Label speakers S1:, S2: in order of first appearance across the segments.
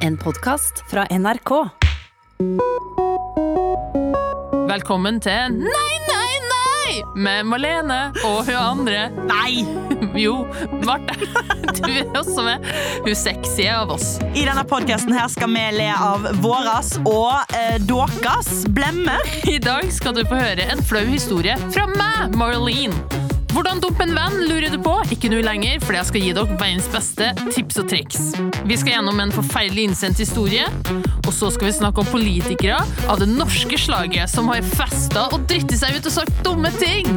S1: En podkast fra NRK.
S2: Velkommen til Nei, nei, nei! Med Malene og hun andre. Nei! Jo, Marte. Du er også med. Hun sexy av oss.
S3: I denne podkasten her skal vi le av våras og eh, deres blemmer.
S2: I dag skal du få høre en flau historie fra meg, Marlene. Hvordan dumpe en venn, lurer du på? Ikke nå lenger, for jeg skal gi dere verdens beste tips og triks. Vi skal gjennom en forferdelig innsendt historie, og så skal vi snakke om politikere av det norske slaget som har festa og dritti seg ut og sagt dumme ting.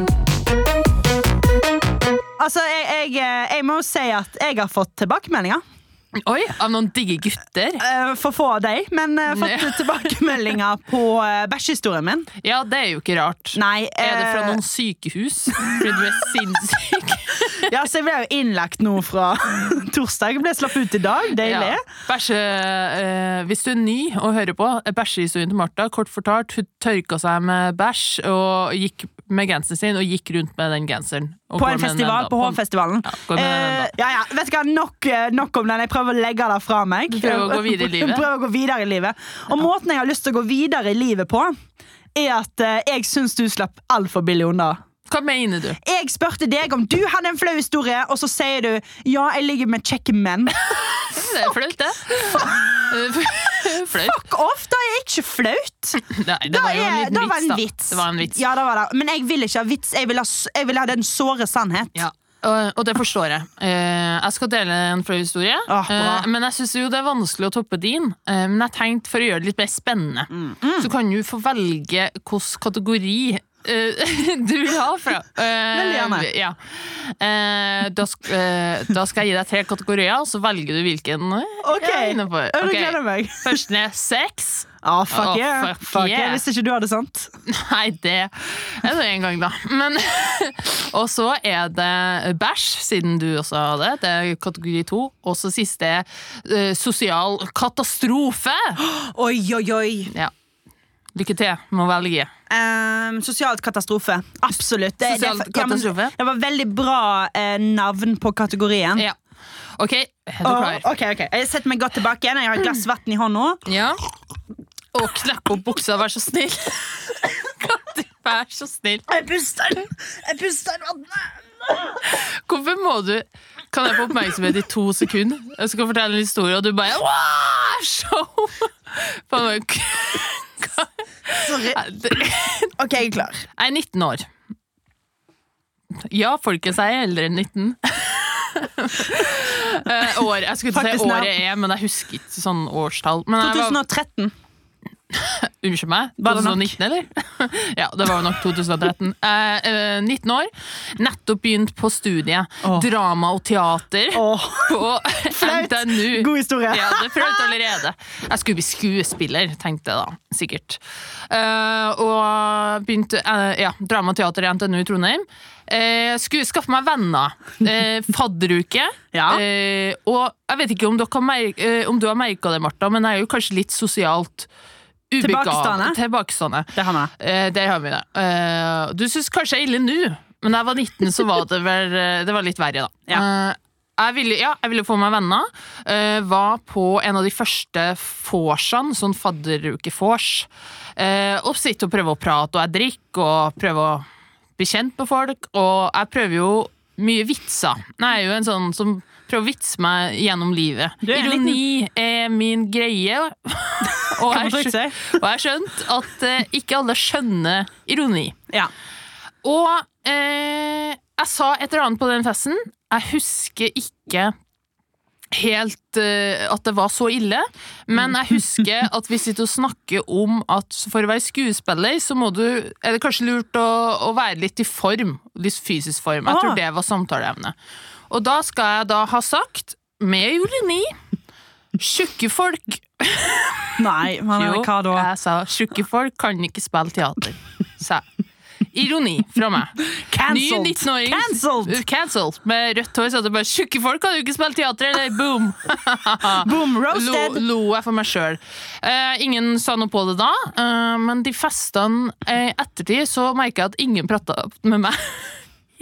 S3: Altså, jeg, jeg, eh, jeg må jo si at jeg har fått tilbakemeldinger.
S2: Oi, av noen digge gutter.
S3: Eh, For få av deg, men eh, fått
S2: Nei.
S3: tilbakemeldinger på eh, bæsjehistorien min.
S2: Ja, det er jo ikke rart.
S3: Nei,
S2: Er det fra
S3: eh,
S2: noen sykehus? Fordi du er sinnssyk?
S3: Ja, så jeg ble jo innlagt nå fra torsdag. Jeg ble slappet ut i dag. Deilig.
S2: Ja. Bæsje, eh, hvis du er ny og hører på, eh, bæsjehistorien til Martha, kort fortalt, hun tørka seg med bæsj og gikk med genseren sin og gikk rundt med den genseren. Og
S3: På
S2: går
S3: en
S2: med den
S3: festival,
S2: enda.
S3: på H-festivalen.
S2: Ja, går med den enda.
S3: Eh, ja, ja, vet du hva, nok, eh, nok om den. Jeg prøver å legge det fra meg.
S2: Prøver å gå videre i livet.
S3: Prøver å gå videre i livet. Og måten jeg har lyst til å gå videre i livet på, er at eh, jeg syns du slapp altfor billig unna.
S2: Hva mener du?
S3: Jeg spurte deg om du hadde en flau historie, og så sier du ja, jeg ligger med kjekke menn.
S2: Det er flaut, det. Eh, Flaut?
S3: Fuck off, da er jeg ikke flaut.
S2: Nei, det
S3: Da
S2: var jo en
S3: er-
S2: liten
S3: da var
S2: vits, da.
S3: en vits.
S2: Det var en vits.
S3: Ja, det var det. Men jeg vil ikke ha vits. Jeg vil ha, s- jeg vil ha den såre sannhet.
S2: Ja, og, og det forstår jeg. Eh, jeg skal dele en flau historie.
S3: Ah, bra.
S2: eh, men jeg syns jo det er vanskelig å toppe din. Eh, men jeg tenkte for å gjøre det litt mer spennende,
S3: Mm.
S2: så kan du få velge hvilken kategori eh, du vil ha fra. Eh,
S3: Veldig gjerne.
S2: Ja. Eh, da, sk eh, da skal jeg gi deg tre kategorier, så velger du hvilken. eh,
S3: Ok,
S2: jeg er inne på.
S3: Jeg
S2: Ok.
S3: gleder meg.
S2: Førsten er sex.
S3: Ah, fuck
S2: Å,
S3: yeah.
S2: fuck
S3: Fuck yeah.
S2: yeah.
S3: Hvis ikke du hadde sant.
S2: Nei, det er det en gang, da. Men, og så er det bæsj, siden du også har det. Det er kategori to. Og så siste er eh, sosial katastrofe.
S3: Oi, oi, oi.
S2: Ja. Lykke til med å velge.
S3: Um, sosial katastrofe. Absolutt. Det,
S2: Sosial
S3: det, ja, men
S2: katastrofe.
S3: det var veldig bra eh, navn på kategorien.
S2: Ja. OK, er du
S3: Åh,
S2: klar?
S3: ok, ok. Jeg setter meg godt tilbake igjen. Jeg har et glass vann i hånda.
S2: Ja. Og knepp opp buksa, vær så snill. Kan du være så snill?
S3: Jeg puster Jeg puster vannet.
S2: Hvorfor må du Kan jeg få oppmerksomhet i to sekunder? Jeg skal fortelle en historie, og du bare Wow! Show! Faen, hva-
S3: Sorry.
S2: Nei, det-
S3: OK, jeg er klar.
S2: Jeg er 19 år. Ja, folkens, jeg er eldre enn 19. Eh, år. Jeg skulle til å
S3: Faktisk
S2: si
S3: nå.
S2: året er, men jeg husker ikke sånn årstall. Men jeg var,
S3: 2013.
S2: unnskyld meg,
S3: Var det nok?
S2: 2019, eller? ja, det var jo nok 2013. Eh, eh, 19 år, nettopp begynt på studiet.
S3: Åh.
S2: Drama og teater
S3: Åh,
S2: på
S3: Flaut.
S2: NTNU.
S3: god historie.
S2: Ja, det følte jeg allerede. Jeg skulle bli skuespiller, tenkte jeg da, sikkert. Eh, og begynte eh, ja, drama og teater i NTNU i Trondheim. Eh, skulle skaffe meg venner. Eh, fadderuke.
S3: Ja.
S2: Eh, og jeg vet ikke om, dere har mer eh, om du har merka det, Martha, men jeg er jo kanskje litt sosialt ubega-
S3: Tilbakestående.
S2: Tilbakestående.
S3: Det har vi.
S2: Eh, der har vi det. Eh, du syns kanskje jeg er ille nå, men da jeg var 19, så var det vel eh, Det var litt verre, da. Eh, jeg ville, ja, jeg ville få meg venner. eh, var på en av de første vorsene, sånn fadderuke-vors. Eh, og sitter og prøver å prate, og jeg drikker og prøver å bli kjent med folk. Og jeg prøver jo mye vitser. Jeg er jo en sånn som prøver å vitse meg gjennom livet.
S3: Du er en
S2: Ironi er min greie. og
S3: Kan man trygt si.
S2: og jeg har skjønt at eh, ikke alle skjønner ironi.
S3: Ja.
S2: Og eh, jeg sa et eller annet på den festen. Jeg husker ikke helt eh, at det var så ille, men jeg husker at vi sitter og snakker om at for å være skuespiller, så må du Er det kanskje lurt å, å være litt i form? Litt fysisk form. Jeg
S3: Ah.
S2: tror det var samtaleevne. Og da skal jeg da ha sagt, med ironi Tjukke folk
S3: Nei, men
S2: jo,
S3: hva da?
S2: jeg sa tjukke folk kan ikke spille teater. Sa jeg. Ironi fra meg. Ny
S3: Cancelled!
S2: 19-åring.
S3: Cancelled!
S2: Cancelled. Med rødt hår sa det bare 'tjukke folk kan jo ikke spille teater', eller boom!
S3: Boom!
S2: Lo,
S3: Roasted!
S2: lo jeg for meg sjøl. Eh, ingen sa noe på det da, eh, men de festene eh, ettertid så merka jeg at ingen prata med meg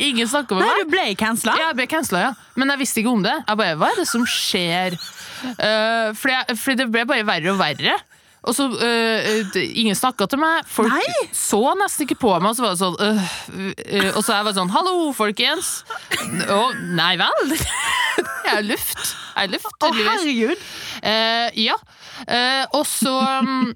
S2: Ingen snakka med
S3: Nei,
S2: meg.
S3: du ble cancela?
S2: Ja, jeg ble cancela, ja. Men jeg visste ikke om det. Jeg bare, Hva er det som skjer? Uh, fordi, jeg, fordi det ble bare verre og verre. Og så eh, det- Ingen snakka til meg. Folk
S3: Nei!
S2: så nesten ikke på meg. Og så var det sånn eh, eh, Og så jeg var sånn Hallo, folkens! Og nei vel? Jeg er luft. Jeg er luft,
S3: Å,
S2: tydeligvis.
S3: herregud.
S2: Eh, ja. Eh, og så mm,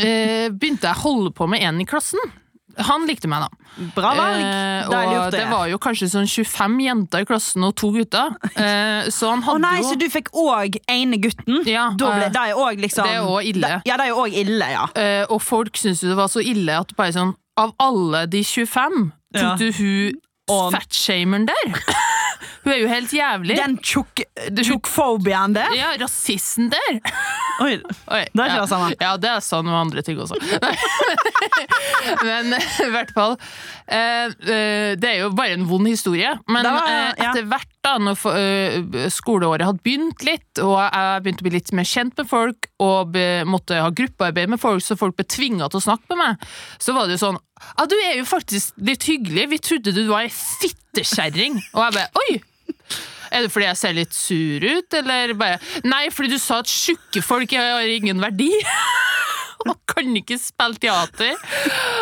S2: eh, begynte jeg å holde på med en i klassen. Han likte meg, da.
S3: Bra valg.
S2: Eh,
S3: Deilig
S2: og
S3: gjort,
S2: det
S3: det.
S2: var jo kanskje sånn 25 jenter i klassen og to gutter. Eh, så han
S3: Å
S2: hadde
S3: nei,
S2: jo
S3: så du fikk òg ene gutten?
S2: Ja,
S3: da ble,
S2: eh,
S3: det er jo òg liksom
S2: det er jo ille.
S3: Da, ja, det er jo òg ille, ja.
S2: eh, Og folk syntes jo det var så ille at bare sånn Av alle de 25 tok
S3: Ja.
S2: du hun
S3: Og-
S2: fatshameren der? hun er jo helt jævlig.
S3: Den tjukk- tjukkfobiaen der.
S2: Ja, rasisten der!
S3: Oi.
S2: Oi,
S3: Det er ikke
S2: ja.
S3: det samme.
S2: Ja, det er sånn med andre ting også. men i hvert fall eh, eh, Det er jo bare en vond historie. Men
S3: Det var-
S2: eh,
S3: ja.
S2: etter hvert, da, når for- eh, skoleåret hadde begynt litt, og jeg begynte å bli litt mer kjent med folk, og be, måtte ha gruppearbeid med folk, så folk ble tvinga til å snakke med meg, så var det jo sånn Ja, du er jo faktisk litt hyggelig. Vi trodde du var ei fittekjerring. Og jeg bare Oi! Er det fordi jeg ser litt sur ut, eller bare Nei, fordi du sa at tjukke folk har ingen verdi. Og kan ikke spille teater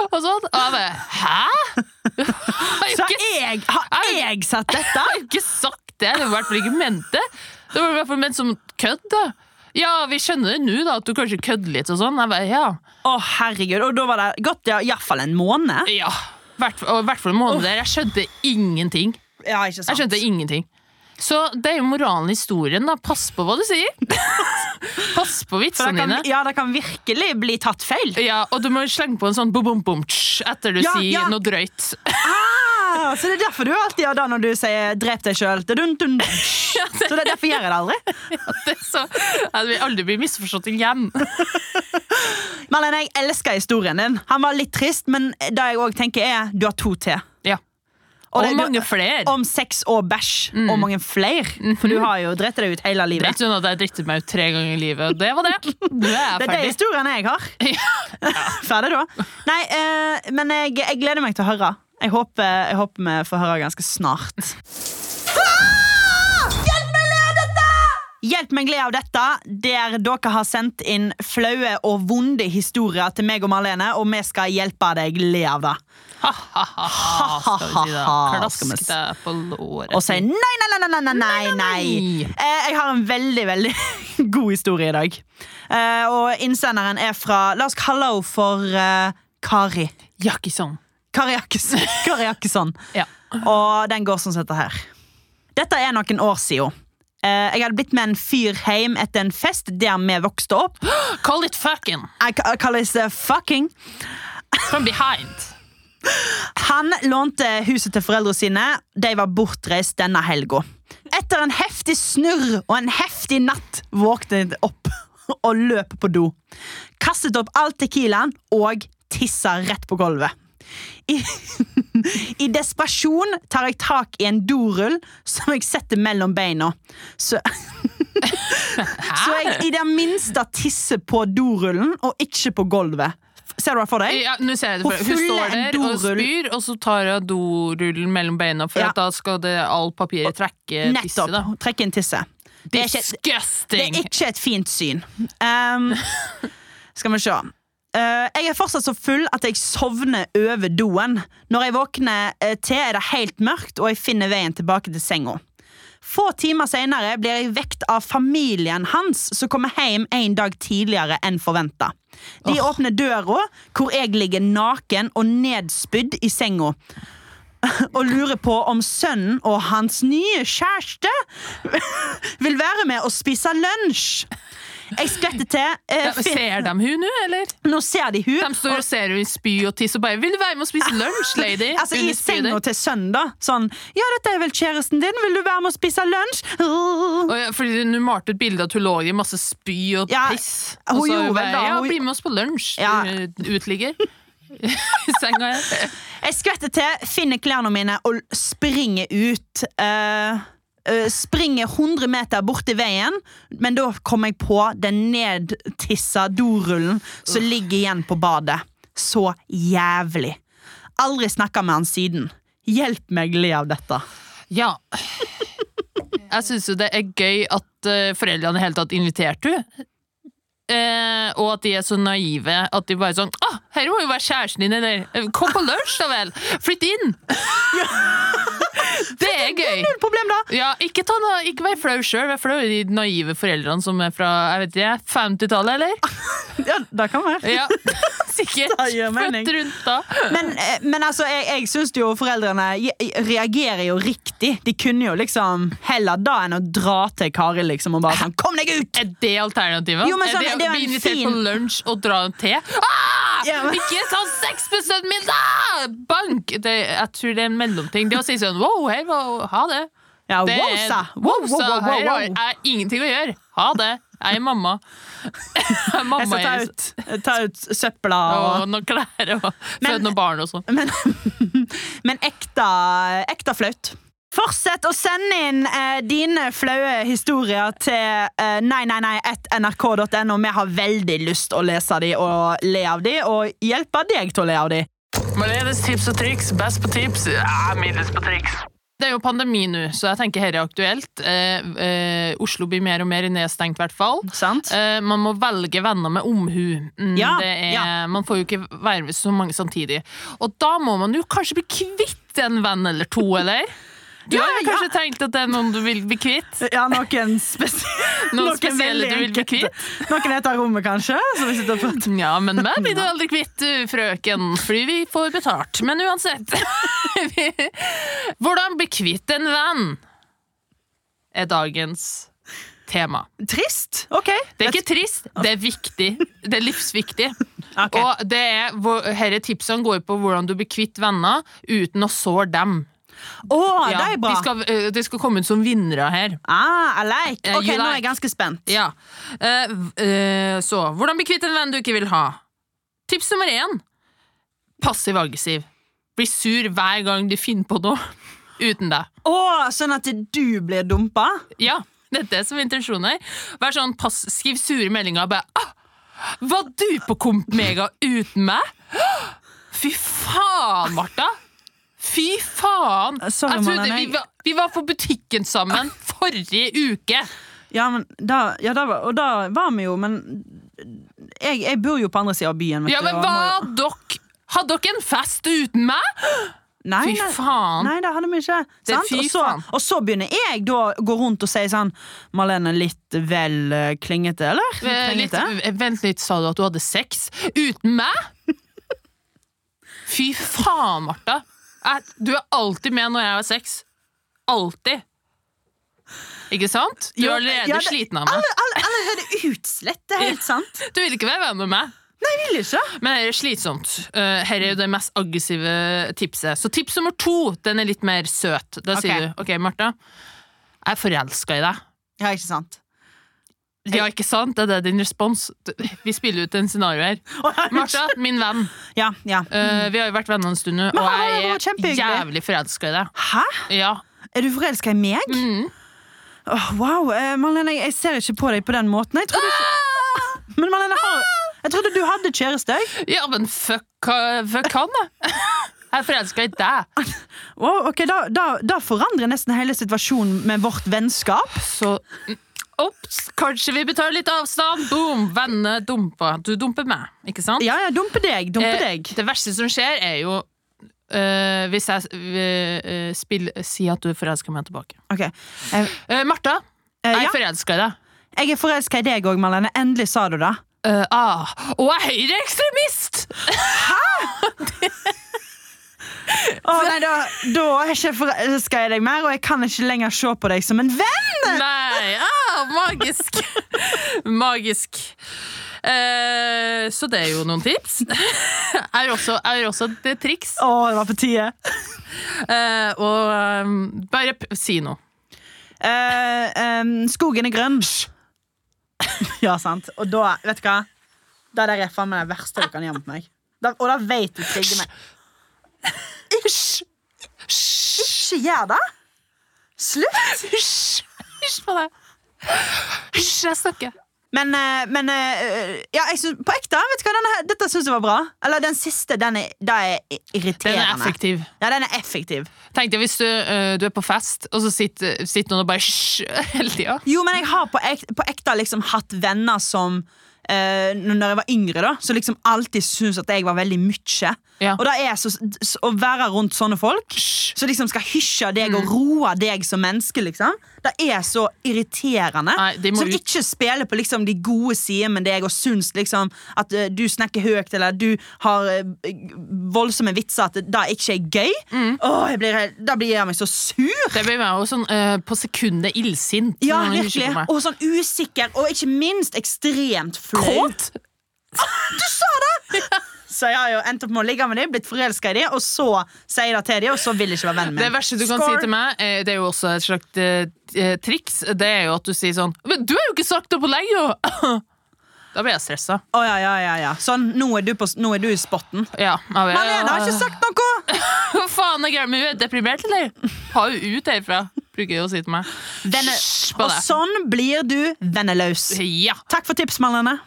S2: og sånn. Og jeg bare Hæ?! Har
S3: Så
S2: jeg ikke,
S3: har jeg, har
S2: Jeg-
S3: jeg sett dette?
S2: har ikke sagt det! Det var i hvert fall ikke ment det. Det var i hvert fall ment som kødd, da. Ja, vi skjønner det nå, da, at du kanskje kødder litt og sånn. Jeg bare, ja.
S3: Å, herregud. Og da var det gått ja, iallfall en måned.
S2: ja. Hvert, og i hvert fall en måned der. Jeg skjønte ingenting.
S3: Ja, ikke sant.
S2: Jeg skjønte ingenting. Så det er jo moralen i historien, da. Pass på hva du sier! Pass på
S3: For det
S2: vitsene
S3: kan,
S2: dine.
S3: ja, det kan virkelig bli tatt feil.
S2: Ja, og du må slenge på en sånn bom-bom-bom-tsj etter du
S3: Ja,
S2: sier
S3: ja.
S2: noe drøyt.
S3: Ah, så det er derfor du alltid gjør det når du sier 'drep deg sjøl'. Så det er derfor gjør jeg det aldri.
S2: Det er så, jeg vil aldri bli misforstått igjen.
S3: Men jeg elsker historien din. Han var litt trist, men det jeg òg tenker, er du har to til.
S2: Ja.
S3: Og
S2: Og,
S3: det-
S2: mange flere.
S3: Om sex og bæsj. Og mange flere. For du har jo drept deg ut hele
S2: Det er
S3: livet.
S2: ikke sånn at jeg drikket meg ut tre ganger i livet, og det var det. Nå er jeg
S3: Det er de
S2: ferdig.
S3: historiene jeg har. Ferdig, da. Nei, eh, men jeg, jeg gleder meg til å høre. Jeg håper, jeg håper vi får høre ganske snart. Hjelp meg le av dette, der dere har sendt inn flaue og vonde historier til meg og Marlene, og vi skal hjelpe deg le av det.
S2: Ha-ha-ha, Ah, skal vi si da.
S3: Ha-ha-ha, skal vi
S2: Klask
S3: s-
S2: deg på låret.
S3: Og si nei, nei, nei, nei, nei, nei, nei.
S2: nei.
S3: Eh, Jeg har en veldig, veldig god historie i dag. Eh, Og innsenderen er fra La oss kalle henne for eh, Kari.
S2: Ja, ikke sånn.
S3: Kari Jakkesson. Kari Jakkesson.
S2: Ja.
S3: Og den går som dette her. Dette er noen år siden. Eh, Jeg hadde blitt med en fyr hjem etter en fest der vi vokste opp.
S2: Call it fucking
S3: Jeg ka- kalles eh, fucking.
S2: from behind.
S3: Han lånte huset til foreldrene sine. De var bortreist denne helga. Etter en heftig snurr og en heftig natt våknet jeg opp og løp på do. Kastet opp all tequilaen og tissa rett på gulvet. I, I desperasjon tar jeg tak i en dorull som jeg setter mellom beina. Så, så
S2: Ah.
S3: jeg i det minste tisser på dorullen og ikke på gulvet. Ser du det for deg?
S2: Ja, nå ser jeg det
S3: Hun
S2: for Hun
S3: fyller en
S2: står der og
S3: dorull.
S2: spyr, og så tar hun dorullen mellom beina, for
S3: Ja.
S2: at da skal det all papiret trekke tisse.
S3: Nettopp.
S2: da.
S3: Trekke inn tisse. Det er ikke, det
S2: Disgusting!
S3: er ikke et fint syn. Ehm, skal vi se. Eh, jeg er fortsatt så full at jeg sovner over doen. Når jeg våkner eh, til, er det helt mørkt, og jeg finner veien tilbake til senga. Få timer senere blir jeg vekt av familien hans, som kommer hjem en dag tidligere enn forventa. De åpner døra, hvor jeg ligger naken og nedspydd i senga. Og lurer på om sønnen og hans nye kjæreste vil være med og spise lunsj. Jeg skvetter til. eh,
S2: Ja,
S3: fin-
S2: ser de hun nå, eller?
S3: Nå ser de hun.
S2: De står og ser hun spy og tisse og bare 'Vil du være med og spise lunsj, lady?'
S3: Altså I
S2: Under spydet.
S3: senga til sønnen, da. Sånn 'Ja, dette er vel kjæresten din. Vil du være med og spise lunsj?'
S2: Og ja, fordi Hun malte et bilde av at hun lå i masse spy og
S3: Ja,
S2: piss.
S3: hun
S2: og så
S3: gjorde
S2: bare,
S3: vel det,
S2: Ja,
S3: hun-
S2: bli med oss på lunsj,
S3: Ja.
S2: du uteligger. I senga her.
S3: Jeg skvetter til, finner klærne mine og l- springer ut. Eh, eh, springer 100 meter borti veien, men da kommer jeg på den nedtissa dorullen som ligger igjen på badet. Så jævlig. Aldri snakka med han siden. Hjelp meg le av dette.
S2: Ja. Jeg syns jo det er gøy at eh, foreldrene i hele tatt inviterte henne. Eh, og at de er så naive at de bare sånn Å, ah, her må jo være kjæresten din, eller eh, Kom på lunsj, da vel! Flytt inn! Det er gøy.
S3: Null problem, da!
S2: Ja, ikke, ta noe, ikke vær flau sjøl. Vær flau de naive foreldrene som er fra jeg vet ikke, 50-tallet, eller?
S3: Ja, det kan være.
S2: Ja, Sikkert.
S3: Det gir mening.
S2: Født rundt da.
S3: Men, eh, men altså, jeg, jeg syns jo foreldrene je- reagerer jo riktig. De kunne jo liksom heller da enn å dra til Kari liksom og bare sånn Kom deg ut!
S2: Er det alternativet?
S3: Jo, men sånn,
S2: er
S3: det
S2: det
S3: er jo
S2: å bli
S3: en
S2: invitert
S3: fin-
S2: på lunsj og dra en te? Ah!
S3: Ja, men-
S2: Ikke ta sexbesøk min, da! Bank! Det, jeg tror det er en mellomting. Det å si sånn wow, hei, wow, ha det.
S3: Ja,
S2: det
S3: wow, sa. Wow, wow,
S2: sa,
S3: wow, wow,
S2: hei,
S3: wow.
S2: hei, Jeg har ingenting å gjøre. Ha det. Jeg er mamma. mamma
S3: Jeg skal ta
S2: er-
S3: ut, ta ut søpla og
S2: Og noen klær og føde noen barn og sånn.
S3: Men, men ekte, ekte flaut. Fortsett å sende inn eh, dine flaue historier til eh, nei, nei, nei, at nrk.no. Vi har veldig lyst å lese de og le av de, og hjelpe deg til å le av de.
S4: Malenes tips og triks, best på tips, ja, middels på triks.
S2: Det er jo pandemi nå, så jeg tenker her er aktuelt. Eh, eh, Oslo blir mer og mer nedstengt, i hvert fall.
S3: Sant?
S2: Eh, man må velge venner med omhu. Mm,
S3: Ja,
S2: det er,
S3: ja.
S2: Man får jo ikke være med så mange samtidig. Og da må man jo kanskje bli kvitt en venn eller to, eller? Du
S3: Ja,
S2: har jo
S3: ja.
S2: kanskje tenkt at det er noen du vil bli kvitt?
S3: Eh, Ja, noen, spesielle
S2: Noen spesielle du vil bli kvitt?
S3: Noen heter Rommet, kanskje. Som vi sitter på.
S2: Ja, men meg blir du aldri kvitt, du, frøken, fordi vi får betalt. Men uansett vi- Hvordan bli kvitt en venn? er dagens tema.
S3: Trist. OK.
S2: Det er ikke trist, det er viktig. Det er livsviktig.
S3: Ok.
S2: Og det er, hvor- her er tipsene går på hvordan du blir kvitt venner uten å såre dem.
S3: Å, det
S2: Ja,
S3: er bra.
S2: De, skal, eh, de skal komme ut som vinnere her.
S3: Ah, I like.
S2: Eh,
S3: OK,
S2: you
S3: nå er
S2: like.
S3: jeg ganske spent.
S2: Ja. Eh, v- eh, så, hvordan bli kvitt en venn du ikke vil ha? Tips nummer én. Passiv-aggressiv. Bli sur hver gang de finner på noe uten deg.
S3: Å, sånn at du blir dumpa?
S2: Ja, dette er som intensjon her. Vær sånn, pass, skriv sure meldinger og bare ah, Var du på Komp Mega uten meg? Fy faen, Martha! Fy faen!
S3: Sorry,
S2: jeg trodde
S3: mannen,
S2: vi
S3: jeg-
S2: var, vi var på butikken sammen forrige uke.
S3: Ja, men da, ja da, var- og da var vi jo, men jeg, jeg bor jo på andre sida av byen. Vet
S2: Ja,
S3: du,
S2: men
S3: og
S2: hva
S3: må jo-
S2: dere Hadde dere en fest uten meg?
S3: Nei,
S2: Fy
S3: nei.
S2: faen.
S3: Nei, det hadde vi ikke.
S2: Det er
S3: Sant?
S2: fy
S3: Og, så,
S2: faen.
S3: og så begynner jeg da å gå rundt og si sånn Malene, litt vel eh, klingete, eller?
S2: Eh, Litt,
S3: Klingete?
S2: eh, vent litt, sa du at du hadde sex uten meg? Fy faen, Martha. Jeg, du er alltid med når jeg har sex. Alltid. Ikke sant? Du
S3: Jo,
S2: er allerede
S3: ja, det-
S2: sliten av meg.
S3: Alle, alle, allerede utslett, det er helt sant.
S2: Du vil ikke være venn med meg.
S3: Jeg vil ikke.
S2: Men det er slitsomt. Eh, her er jo det mest aggressive tipset. Så tips nummer to, den er litt mer søt. Da sier du OK, Martha. Jeg er forelska i deg.
S3: Ja, ikke sant.
S2: Ja, ikke sant? Det er det din respons. Vi spiller ut en scenario her. Martha, min venn.
S3: Ja, ja.
S2: Eh, vi har jo vært venner en stund nå, og
S3: han er jo
S2: jeg er
S3: kjempehyggelig.
S2: jævlig forelska i deg.
S3: Hæ?
S2: Ja.
S3: Er du forelska i meg? Åh, wow, eh, Malene, jeg, jeg ser ikke på deg på den måten. Jeg trodde, ikke... Men Malene, har... jeg trodde du hadde kjæreste. jeg.
S2: ja, men fuck, eh, fuck han, da. Jeg er forelska i deg.
S3: Wow, ok, da, da, da forandrer nesten hele situasjonen med vårt vennskap.
S2: Så mm, Ops, kanskje vi betaler litt avstand. Boom, venne dumpa. Du dumper meg, ikke sant?
S3: Ja, ja, dumpe deg, dumpe deg.
S2: det verste som skjer, er jo eh, hvis jeg eh, spill, sier at du er forelska i meg tilbake.
S3: Ok, eh,
S2: Eh, Martha,
S3: eh,
S2: jeg
S3: ja,
S2: er forelska i deg.
S3: jeg er forelska i deg òg, Malene. Endelig sa du det.
S2: Eh, ah, og jeg er høyreekstremist!
S3: Å nei, da, da er jeg ikke forelska i deg mer, og jeg kan ikke lenger se på deg som en venn!
S2: Nei, ah, magisk Magisk eh, Så det er jo noen tips Er også, er også det triks
S3: Å, det var på tide.
S2: eh, Og ehm, bare p- si noe
S3: Eh, em, skogen er grønn. Ja, sant. Og da, vet du hva? Det der er faen meg det verste du kan gjøre mot meg. Da, og da vet du trigger meg. Hysj! Ikke gjør det! Slutt!
S2: Hysj, hysj på deg Hysj, jeg snakker
S3: Men, eh, men eh, ja, jeg synes, på ekte, vet du hva, denne, her- dette syns jeg var bra. Eller den siste, den er, da er i-
S2: Den
S3: irriterende.
S2: er effektiv.
S3: Ja, den er effektiv.
S2: Tenk deg hvis du, eh, du er på fest, og så sitter, sitter noen og bare «Hysj» hele tida.
S3: Jo, men jeg har på, ek, på ekte liksom hatt venner som eh, Når jeg var yngre, da som liksom alltid syntes at jeg var veldig mye.
S2: Ja.
S3: Og da er jeg så, s- å være rundt sånne folk som liksom skal hysje deg
S2: Mm.
S3: og roe deg som menneske, liksom. Det er så irriterende.
S2: Nei, de må
S3: som
S2: ut.
S3: ikke spiller på liksom de gode sidene med deg og syns liksom at eh, du snakker høyt eller du har eh, voldsomme vitser at det ikke er gøy.
S2: Mm.
S3: Åh, jeg blir, helt- da blir jeg meg så sur.
S2: Det blir meg jo sånn eh, på sekundet illsint.
S3: Ja,
S2: når noen hysjer
S3: virkelig.
S2: på meg.
S3: Og sånn usikker, og ikke minst ekstremt flau.
S2: Kåt?
S3: Så jeg har jo endt opp med å ligge med dem, blitt forelska i dem, og så sier jeg det til dem, og så vil jeg ikke være venn med
S2: Det verste du kan si til meg, eh, det er jo også et slags eh, eh, triks, det er jo at du sier sånn Men du har jo ikke sagt det på lenge! jo!» da blir jeg stressa.
S3: Å ja, ja, ja, ja. Sånn, nå er du, på, nå er du i spotten.
S2: Ja, jeg,
S3: Malene har ikke sagt noe!
S2: Hva faen er gærent med henne? Er hun Deprimert, eller? Ha henne ut herfra, bruker jeg å si til meg.
S3: Venne,
S2: Hysj på
S3: og
S2: deg.
S3: sånn blir du venneløs.
S2: Ja.
S3: Takk for tips, Malene.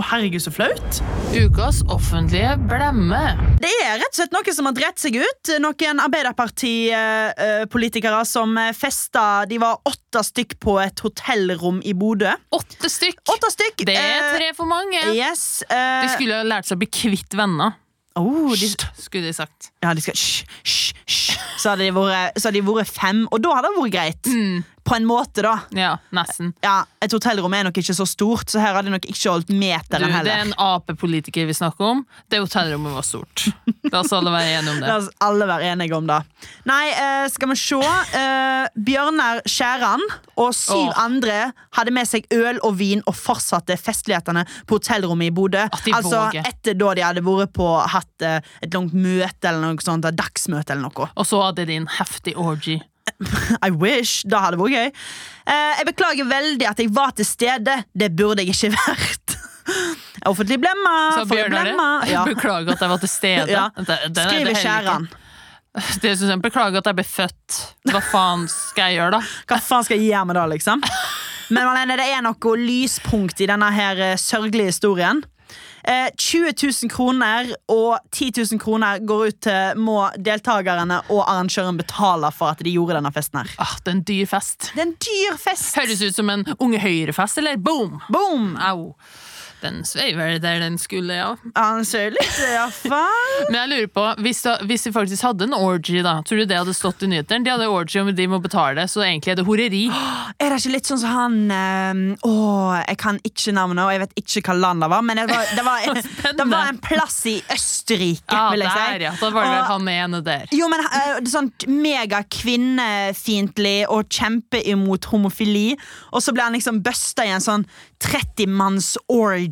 S3: Å, herregud, så flaut.
S2: Ukas offentlige blemme.
S3: Det er rett og slett noen som har drept seg ut. Noen Arbeiderparti-politikere som eh, festa De var åtte stykk på et hotellrom i Bodø.
S2: Åtte stykk.
S3: Åtte stykk!
S2: Det er
S3: eh,
S2: tre for mange.
S3: Yes. eh,
S2: De skulle ha lært seg å bli kvitt venner.
S3: oh, de,
S2: Hysj, skulle de sagt.
S3: ja, de skal hysj, hysj, hysj. Så hadde de vært, så hadde de vært fem, og da hadde det vært greit.
S2: Mm.
S3: På en måte, da.
S2: Ja, nesten.
S3: Ja, Et hotellrom er nok ikke så stort, så her hadde de nok ikke holdt
S2: Du,
S3: meteren
S2: det er
S3: heller.
S2: en Ap-politiker vi snakker om. Det hotellrommet var stort. La oss alle være enige om
S3: La
S2: det.
S3: oss alle være enige om det. Nei, eh, skal vi se. Eh, Bjørnar Skjæran og syv
S2: Åh.
S3: andre hadde med seg øl og vin og fortsatte festlighetene på hotellrommet i Bodø.
S2: de
S3: Altså
S2: våger.
S3: etter da de hadde vært på hatt eh, et langt møte eller noe sånt. et Dagsmøte eller noe.
S2: Og så hadde de en heftig orgy.
S3: I wish. Da hadde det vært gøy. Eh, jeg beklager veldig at jeg var til stede. Det burde jeg ikke vært. Offentlig blemma.
S2: Så
S3: får jeg
S2: Bjørnar
S3: blemma. Ja.
S2: beklager at jeg var til stede.
S3: Ja.
S2: Det- det- det- det er
S3: Skriver
S2: heller
S3: skjæran.
S2: ikke- Det er sånn, Beklager at jeg ble født. Hva faen skal jeg gjøre, da?
S3: Hva faen skal jeg gjøre med det, liksom? Men Malene, det er noe lyspunkt i denne her eh, sørgelige historien. Eh, 20 000 kroner og 10 000 kroner går ut til må deltakerne og arrangøren betale for at de gjorde denne festen her.
S2: Ah, det er en dyr fest.
S3: Det er en dyr fest!
S2: Høres ut som en Unge Høyre-fest, eller? Boom!
S3: Boom!
S2: Au. Den sveiver der den skulle, ja.
S3: Han ser litt, iallfall.
S2: Men jeg lurer på, hvis, da, hvis de faktisk hadde en orgy, da, tror du det hadde stått i nyhetene? De hadde orgy om de må betale, så egentlig er det horeri.
S3: Er det ikke litt sånn som han eh, Å, jeg kan ikke navnet, og jeg vet ikke hva land det var, men det var, det var, det var en plass i Østerrike,
S2: Ja,
S3: vil jeg si.
S2: der, ja. Da var det vel
S3: Og-
S2: han ene der.
S3: Jo, men eh, det er sånn megakvinnefiendtlig og kjempe imot homofili. Og så ble han liksom busta i en sånn 30-manns orgy,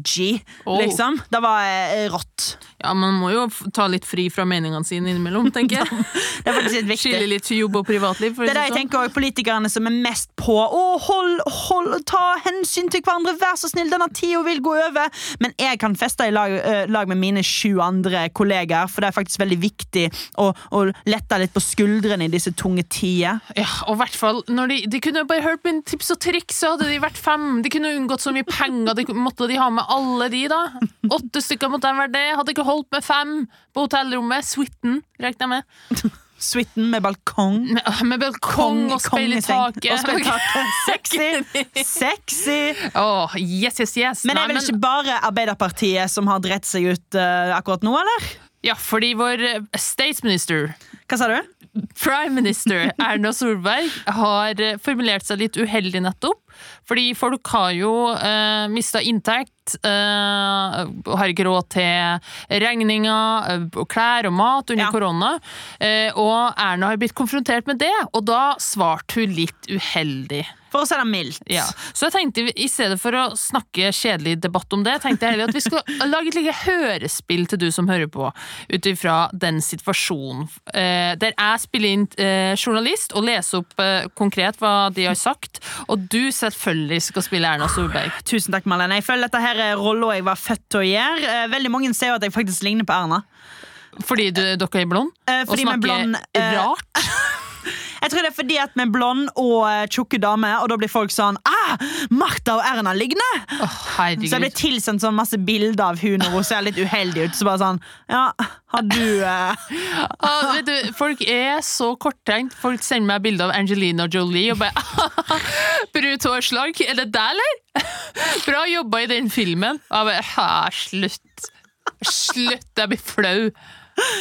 S2: Oh.
S3: liksom. Det var eh, rått.
S2: Ja, Man må jo f- ta litt fri fra meningene sine innimellom, tenker jeg.
S3: Det er faktisk litt viktig.
S2: Skille litt jobb og privatliv. For å
S3: Det
S2: si
S3: er det jeg
S2: sånn.
S3: tenker også, Politikerne som er mest på Å, hold, hold, ta hensyn til hverandre, vær så snill, denne tida vil gå over. Men jeg kan feste i lag, eh, lag med mine sju andre kollegaer, for det er faktisk veldig viktig å, å lette litt på skuldrene i disse tunge tider.
S2: Ja, og i hvert fall, når de, de kunne jo bare hørt mine tips og triks, så hadde de vært fem. De kunne unngått så mye penger. De, måtte de ha med alle de, da? Åtte stykker måtte de være det. Hadde ikke holdt med fem på hotellrommet. Suiten, regner jeg med.
S3: Suiten med balkong.
S2: Med, ah, med balkong og speil i
S3: kongeseng.
S2: taket.
S3: Og speil i taket. Sexy! Sexy!
S2: Åh, yes, yes, yes.
S3: Men det
S2: Nei,
S3: er vel ikke bare Arbeiderpartiet som har drett seg ut eh, akkurat nå, eller?
S2: Ja, fordi vår eh, statsminister
S3: Hva sa du?
S2: Prime Minister Erna Solberg har eh, formulert seg litt uheldig nettopp. Fordi folk har jo eh, mista inntekt, eh, har ikke råd til regninger, eh, og klær og mat under
S3: Ja.
S2: korona. Eh, og Erna har blitt konfrontert med det, og da svarte hun litt uheldig.
S3: For å si det mildt.
S2: Ja. Så jeg tenkte, vi- i stedet for å snakke kjedelig debatt om det, tenkte jeg heller at vi skulle lage et lite hørespill til du som hører på, ut ifra den situasjonen. Eh, der jeg spiller inn eh, journalist og leser opp eh, konkret hva de har sagt, og du selvfølgelig skal spille Erna Solberg.
S3: Tusen takk, Marlene. Jeg føler dette her er rolla jeg var født til å gjøre. Eh, Veldig mange ser jo at jeg faktisk ligner på Erna.
S2: Fordi du, dere er blond?
S3: Eh,
S2: og
S3: fordi vi er
S2: snakker
S3: blond, eh,
S2: rart?
S3: Jeg tror det er fordi at vi er blond og eh, tjukke damer, og da blir folk sånn ah, Martha og Erna liggende!
S2: Åh,
S3: Så jeg ble
S2: herregud.
S3: tilsendt sånn masse bilder av hun og hun ser litt uheldig ut. Så bare sånn, ja, har du eh,
S2: Ah, vet du, folk er så korttenkt. Folk sender meg bilde av Angelina Jolie og bare Brutt hårslag. Er det deg, eller? Bra jobba i den filmen. Og jeg bare «Hæ, Slutt. Slutt, jeg blir flau,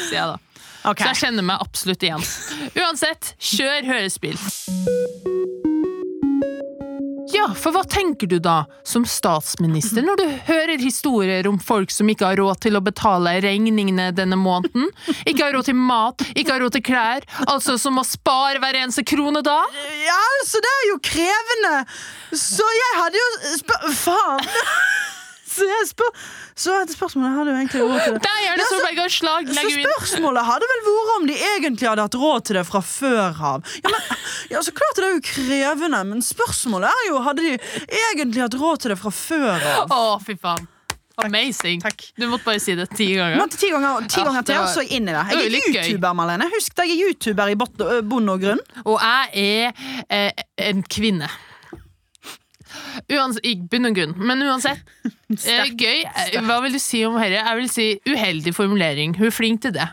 S2: sier jeg da.
S3: Ok.
S2: Så jeg kjenner meg absolutt igjen. Uansett, kjør hørespill. Ja, for hva tenker du da, som statsminister, når du hører historier om folk som ikke har råd til å betale regningene denne måneden? Ikke har råd til mat, ikke har råd til klær, altså som må spare hver eneste krone da?
S3: Ja, altså, det er jo krevende! Så jeg hadde jo spør... Faen! Så jeg spør... Så et spørsmål jeg hadde jo egentlig råd til det.
S2: Der gjør
S3: Ja,
S2: det
S3: så-
S2: Solberg og slag,
S3: Så
S2: legger vi inn.
S3: spørsmålet hadde vel vært om de egentlig hadde hatt råd til det fra før av. Ja, men, ja, så klart det er jo krevende, men spørsmålet er jo hadde de egentlig hatt råd til det fra før av.
S2: Å, fy faen. Amazing. Du måtte bare si det ti
S3: Nå
S2: ganger.
S3: til ti ganger, ti
S2: Ja,
S3: ganger til,
S2: det
S3: og
S2: var-
S3: så jeg inn i det.
S2: det var
S3: Jeg
S2: jo
S3: er
S2: litt gøy.
S3: YouTuber, Marlene. Husk det, jeg er YouTuber i bot- ø, bunn og grunn.
S2: Og jeg er eh, en kvinne. Uans I bunn og grunn. Men uansett, eh, gøy. Eh, Hva vil du si om dette? Jeg vil si uheldig formulering. Hun er flink til det.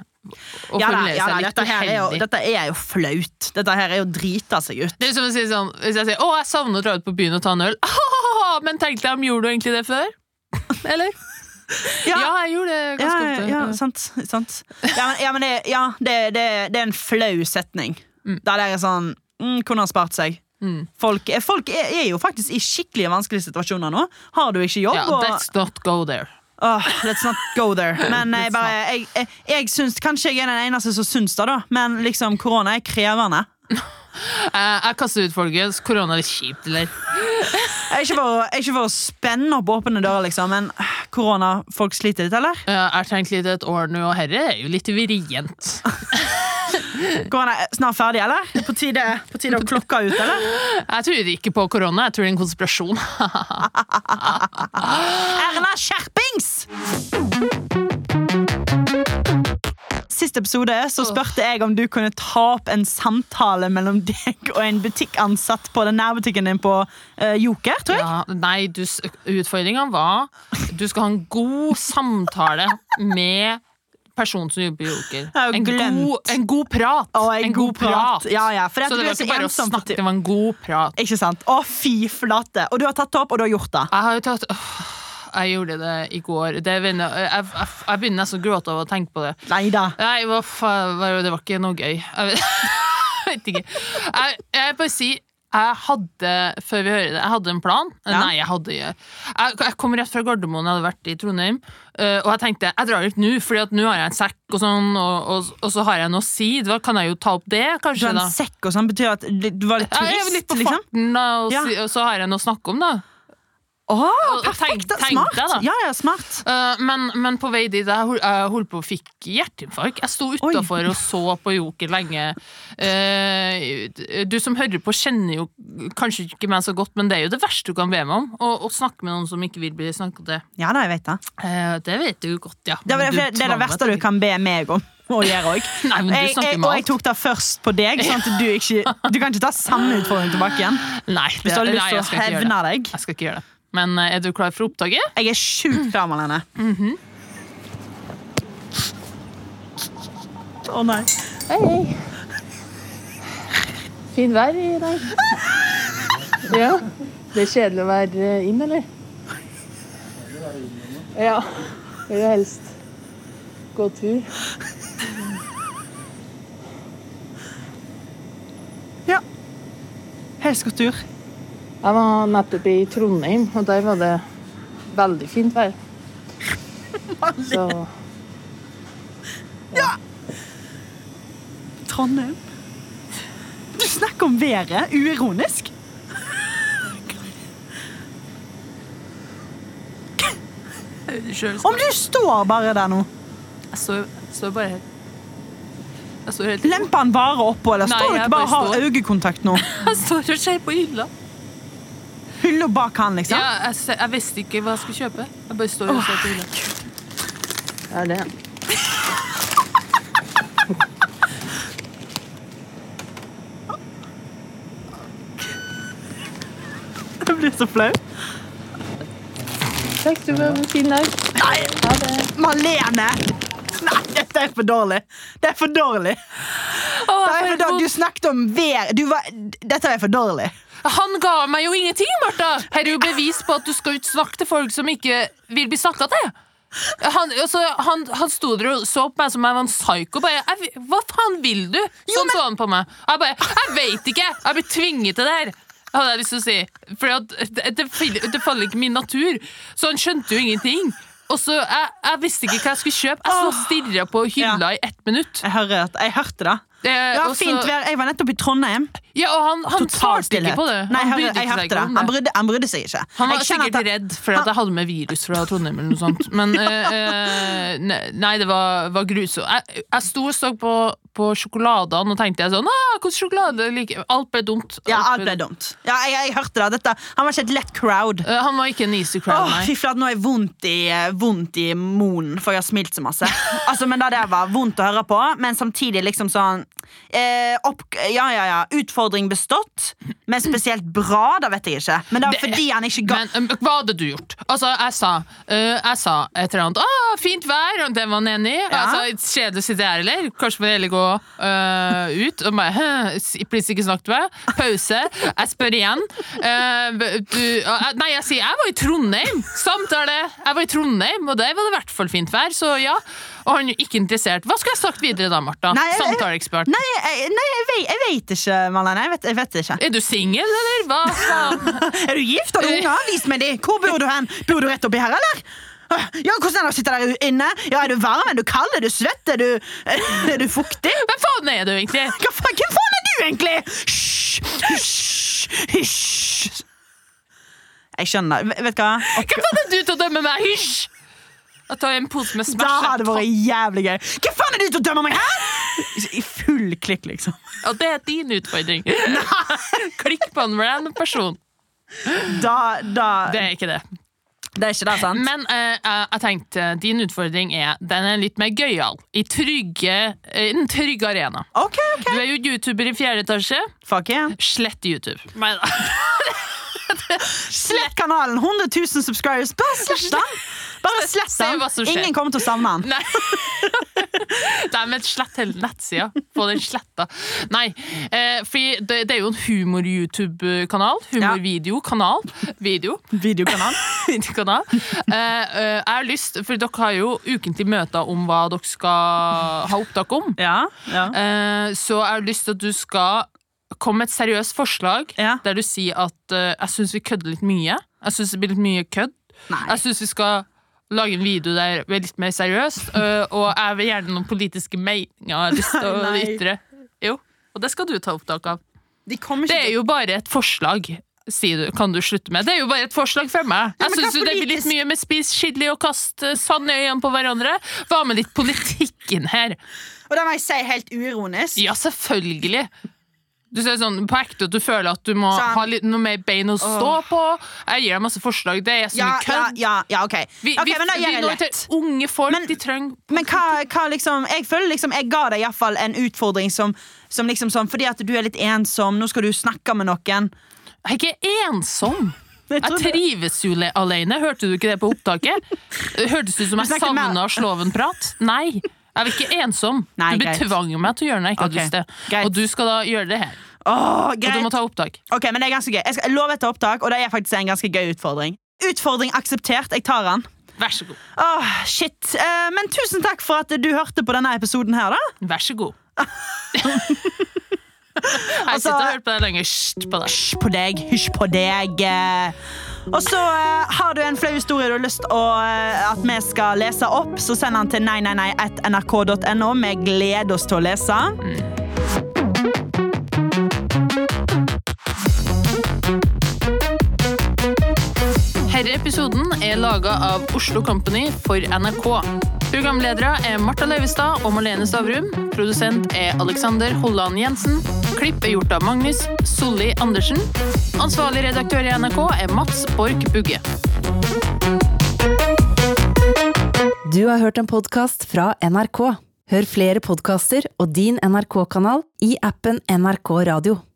S3: Ja,
S2: Å
S3: da,
S2: formulere
S3: ja,
S2: seg
S3: da,
S2: litt
S3: dette, her er jo,
S2: uheldig.
S3: dette er jo flaut. Dette her er jo drita seg ut.
S2: Det er som å si sånn, Hvis jeg sier 'Å, jeg savner å dra ut på byen og ta en øl', men tenkte jeg om gjorde du egentlig det før? Eller? Ja, jeg gjorde det
S3: ja,
S2: ganske
S3: ja,
S2: ofte.
S3: ja, sant, sant. Ja, men, ja, men det, ja, det, det, det er en flau setning. Der det er sånn mm, Kunne ha spart seg. Folk, eh, folk er, er jo faktisk i skikkelig vanskelige situasjoner nå. Har du ikke jobb?
S2: Ja,
S3: og,
S2: let's not go there.
S3: Åh, let's not go there. Men jeg
S2: Let's
S3: bare jeg, jeg, jeg syns, Kanskje jeg er den eneste som syns det, da, men liksom, korona er krevende.
S2: Eh, jeg kaster ut, folkens. Korona er litt kjipt, eller?
S3: Jeg er ikke for, jeg er ikke for å spenne opp åpne dører, liksom, men eh, korona Folk sliter litt, eller?
S2: Eh, Jeg har tenkt litt et år nå, og herre er jo litt vrient.
S3: Korona Eh. er snart ferdig, eller? På tide, på tide å klokke ut, eller?
S2: Jeg tror ikke på korona, jeg tror det er en konspirasjon.
S3: Erna Skjerpings! Sist episode så spurte jeg om du kunne ta opp en samtale mellom deg og en butikkansatt på den nærbutikken din på eh, Joker, tror jeg.
S2: Ja, nei, du, s- utfordringen var du skal ha en god samtale med personen som jobber i Joker.
S3: har jo
S2: En
S3: glemt.
S2: god, en god prat.
S3: Å, en god prat. Ja, ja, for det at
S2: så
S3: du
S2: det
S3: er
S2: var
S3: så
S2: ikke bare å
S3: ensom for
S2: snakke,
S3: tiden.
S2: det var en god prat.
S3: Ikke sant? Å, fy flate. Og du har tatt det opp, og du har gjort det.
S2: Jeg har jo tatt åh, Jeg gjorde det i går. Det, begynner- jeg, jeg, jeg begynner nesten å gråte av å tenke på det.
S3: Nei da.
S2: Nei, hva faen, hva- det var ikke noe gøy. Jeg vet, jeg vet ikke. Jeg, jeg bare si, jeg hadde, før vi hører det, jeg hadde en plan. Eh, Nei, jeg hadde jeg, jeg kom rett fra Gardermoen, jeg hadde vært i Trondheim, eh, og jeg tenkte, jeg drar ut nå, fordi at nå har jeg en sekk og sånn, og, og, og så har jeg noe å si. Da kan jeg jo ta opp det,
S3: Du
S2: kanskje
S3: har
S2: da.
S3: en sekk og sånn. Betyr at du var litt
S2: Ja, Jeg er
S3: turist,
S2: litt på
S3: liksom?
S2: farten, da, og,
S3: Ja.
S2: si, og så har jeg noe å snakke om, da.
S3: Å,
S2: Og- og tenk-
S3: perfekt! da.
S2: tenk
S3: Smart.
S2: deg, da.
S3: Ja, ja, smart.
S2: Eh, men, men på vei dit jeg hol- jeg holdt på å fikk hjerteinfarkt. Jeg sto utafor og så på Joker lenge. Eh, du som hører på, kjenner jo kanskje ikke meg så godt, men det er jo det verste du kan be meg om. Å, å snakke med noen som ikke vil bli snakket til.
S3: Ja da, jeg vet det.
S2: Eh, det vet du jo godt, ja.
S3: Det,
S2: men
S3: var, det, det
S2: du
S3: er det
S2: tvang meg
S3: verste
S2: til
S3: du
S2: det.
S3: kan be meg om å gjøre òg.
S2: Nei, men du
S3: Jeg,
S2: snakker
S3: jeg,
S2: med
S3: og jeg
S2: alt.
S3: tok det først på deg, sånn at du ikke Du kan ikke ta samme utfordring tilbake igjen.
S2: Nei,
S3: Hvis du har
S2: det-
S3: lyst
S2: nei,
S3: til å
S2: jeg skal ikke gjøre
S3: hevne
S2: det.
S3: deg.
S2: Jeg skal ikke gjøre det. Men eh, er du klar for opptaket?
S3: Jeg er sjukt klar, Malene. Å nei.
S2: Fint vær i dag. Ja. Det er kjedelig å være inn, eller? Ja. Vil du helst gå tur?
S3: Ja. Helst gått tur.
S2: Jeg var nettopp i Trondheim, og der var det veldig fint vær. Så
S3: Trondheim. Du snakker om været uironisk. Om du står bare der nå.
S2: Jeg står bare her. Jeg står helt
S3: Lemper han bare oppå, eller
S2: Nei,
S3: står du
S2: jeg
S3: ikke bare og
S2: bare
S3: har
S2: står.
S3: øyekontakt nå?
S2: Jeg står og ser på hylla.
S3: Hylla bak han,
S2: Ja,
S3: liksom?
S2: jeg, se- jeg visste ikke hva jeg skulle kjøpe. Jeg bare står og ser på hylla. Det er det.
S3: så flau.
S2: Takk, du var en fin dag.
S3: Nei! Malene! Nei, dette er for dårlig. Det er for dårlig. Det er for dårlig. Du snakket om vær... Du var... Dette er for dårlig.
S2: Han ga meg jo ingenting, Martha! Her er jo bevis på at du skal utsnakke til folk som ikke vil bli snakka til. Han, altså, han, han sto der og så på meg som om jeg var en psyko. Bare, jeg, hva faen vil du? Sånn så han på meg. Jeg bare Jeg veit ikke! Jeg blir tvinget til det her. Hadde jeg lyst til å si. For at det, det, faller- det faller ikke i min natur. Så han skjønte jo ingenting. Og så, jeg, jeg visste ikke hva jeg skulle kjøpe. Jeg så og stirra på hylla i ett minutt.
S3: Jeg, hører at- jeg hørte det.
S2: Eh,
S3: Det var
S2: og så-
S3: fint vær. Jeg var nettopp i Trondheim.
S2: Ja, og han, han
S3: Total
S2: svarte ikke
S3: stillhet.
S2: på det.
S3: Nei,
S2: han
S3: jeg,
S2: brydde
S3: hørte- jeg
S2: seg
S3: hørte det.
S2: ikke om
S3: Han brydde, han brydde seg ikke.
S2: Han var
S3: Jeg kjenner
S2: sikkert
S3: at han-
S2: redd for at jeg hadde med virus fra Trondheim eller noe sånt. Men eh, eh, ne- nei, det var, var grusomt. Jeg, jeg sto og så på, på sjokoladene og tenkte jeg sånn ah, hvordan sjokolade liker jeg?» Alt ble dumt.
S3: Ja, alt ble dumt. Ja, jeg, jeg hørte det. Dette. Han var ikke et lett crowd.
S2: Eh, han var ikke en easy crowd,
S3: Åh, fy
S2: nei.
S3: flate, nå er jeg vondt i, eh, vondt i monen, for jeg har smilt så masse. altså, men det der var vondt å høre på, men samtidig liksom sånn eh, opp, Ja, ja, ja. Utfordring bestått, men spesielt bra, det vet jeg ikke. Men det var
S2: Det-
S3: fordi han ikke ga
S2: Men eh, hva hadde du gjort? Altså, jeg sa, eh, jeg sa et eller annet ah, 'fint vær', og det var han enig i.
S3: Ja.
S2: Altså, kjedelig å sitte her, eller? Kanskje vi heller gå eh, ut? Og bare «Hæ, s- Please, ikke snakk til meg. Pause. Jeg spør igjen. Eh, du, og jeg- nei, jeg sier 'jeg var i Trondheim'. Samtale. Jeg var i Trondheim, og der var det i hvert fall fint vær, så ja. Og han er ikke interessert. Hva skulle jeg sagt videre da, Martha?
S3: Nei, jeg-
S2: Samtaleekspert.
S3: Nei, jeg, nei, jeg, vet, jeg vet ikke, Marlene. Jeg vet, jeg vet ikke.
S2: Er du singel, eller? Hva faen?
S3: Er du gift? Har du unger? Vis meg de. Hvor bor du hen? Bor du rett oppi her, eller? Åh, Ja, hvordan er det å sitte der inne? Ja, Er du varm? Er du kald? Er du svett? Er du, er du fuktig?
S2: Hvem faen er du egentlig?
S3: Hva faen, hvem faen er du egentlig? Hysj! Hysj! Hysj! Jeg skjønner. V- Vet du hva? Og
S2: Hvem faen er du til å dømme meg? Hysj! Jeg tar en pose med
S3: da
S2: Smash.
S3: hadde det vært jævlig gøy. Hva faen er du til å dømme meg her?! I full klikk, liksom.
S2: Og det er din utfordring. Klikk på en random person.
S3: Da, da
S2: Det er ikke det.
S3: det er ikke det, sant?
S2: Men eh, jeg jeg tenkte din utfordring er den er litt mer gøyal. I trygge, eh, en trygg arena.
S3: OK, OK.
S2: Du er jo YouTuber i fjerde etasje.
S3: Fuck yeah.
S2: Slett YouTube. Nei da.
S3: Slett kanalen! 100 000 subscribers. Bare slett den! Bare slett
S2: Se hva som
S3: den.
S2: skjer.
S3: Ingen kommer til å savne den.
S2: Nei. Nei, men slett hele nettsida. Få den sletta. Nei, eh, fordi det, det er jo en humor-YouTube-kanal. Humorvideo-kanal. Video.
S3: Videokanal.
S2: Videokanal. Eh, eh, jeg har lyst, for dere har jo ukentlig møter om hva dere skal ha opptak om.
S3: Ja. ja.
S2: Eh, så jeg har lyst til at du skal komme med et seriøst forslag
S3: Ja.
S2: der du sier at eh, jeg syns vi kødder litt mye. Jeg syns det blir litt mye kødd.
S3: Nei.
S2: Jeg syns vi skal lage en video der vi er litt mer seriøst. eh, og jeg vil gjerne noen politiske meninger jeg har lyst til å
S3: Nei.
S2: ytre. Jo, og det skal du ta opptak av.
S3: De kommer
S2: Det
S3: ikke
S2: er jo bare et forslag. sier du, kan du slutte med? Det er jo bare et forslag fra meg.
S3: Ja,
S2: Jeg
S3: men hva
S2: syns jo det blir litt
S3: politisk-
S2: mye med spis chili og kast eh, sand i øynene på hverandre. Hva med litt politikken her?
S3: Og det må jeg si helt uironisk.
S2: Ja, selvfølgelig. Du ser sånn på ekte at du føler at du må
S3: Sånn.
S2: ha litt, noe mer bein å stå på. Jeg gir deg masse forslag. Det er så
S3: Ja,
S2: mye
S3: ja,
S2: kødd.
S3: ja, ja, OK.
S2: Vi,
S3: Ok,
S2: vi,
S3: men da
S2: vi
S3: gjør jeg
S2: når
S3: lett.
S2: til unge folk.
S3: Men-
S2: de trenger
S3: Men hva, hva liksom Jeg føler liksom Jeg ga deg iallfall en utfordring som, som liksom sånn Fordi at du er litt ensom, nå skal du snakke med noen.
S2: Jeg er ikke ensom.
S3: Jeg
S2: Jeg
S3: trodde-
S2: trives jo le- alene. Hørte du ikke det på opptaket? Hørtes det ut som jeg
S3: snakker med-
S2: savna Sloven-prat? Nei. Jeg er ikke ensom.
S3: Nei,
S2: du
S3: greit.
S2: betvang meg til å gjøre noe jeg ikke hadde
S3: Ok,
S2: lyst til.
S3: greit.
S2: Og du skal da gjøre det her.
S3: Åh,
S2: Og du må
S3: greit.
S2: ta opptak.
S3: Ok, men det er ganske gøy. Jeg skal love etter opptak, og det er faktisk en ganske gøy utfordring. Utfordring akseptert. Jeg tar den.
S2: Vær så god.
S3: Åh, shit. Eh, men tusen takk for at du hørte på denne episoden her, da.
S2: Vær så god. Jeg sitter og hører på deg lenge. Hysj på deg.
S3: Hysj på deg. Hysj på deg. eh. Og så eh, har du en flau historie du har lyst å, eh, at vi skal lese opp, så send den til neineinei.nrk.no. Vi gleder oss til å lese.
S2: Herre episoden er laga av Oslo Company for NRK. Programledere er Marta Leivestad og Marlene Stavrum. Produsent er Alexander Holland Jensen. Klipp er gjort av Magnus Solli Andersen. Ansvarlig redaktør i NRK er Mats Borch Bugge.
S1: Du har hørt en podkast fra NRK. Hør flere podkaster og din NRK-kanal i appen NRK Radio.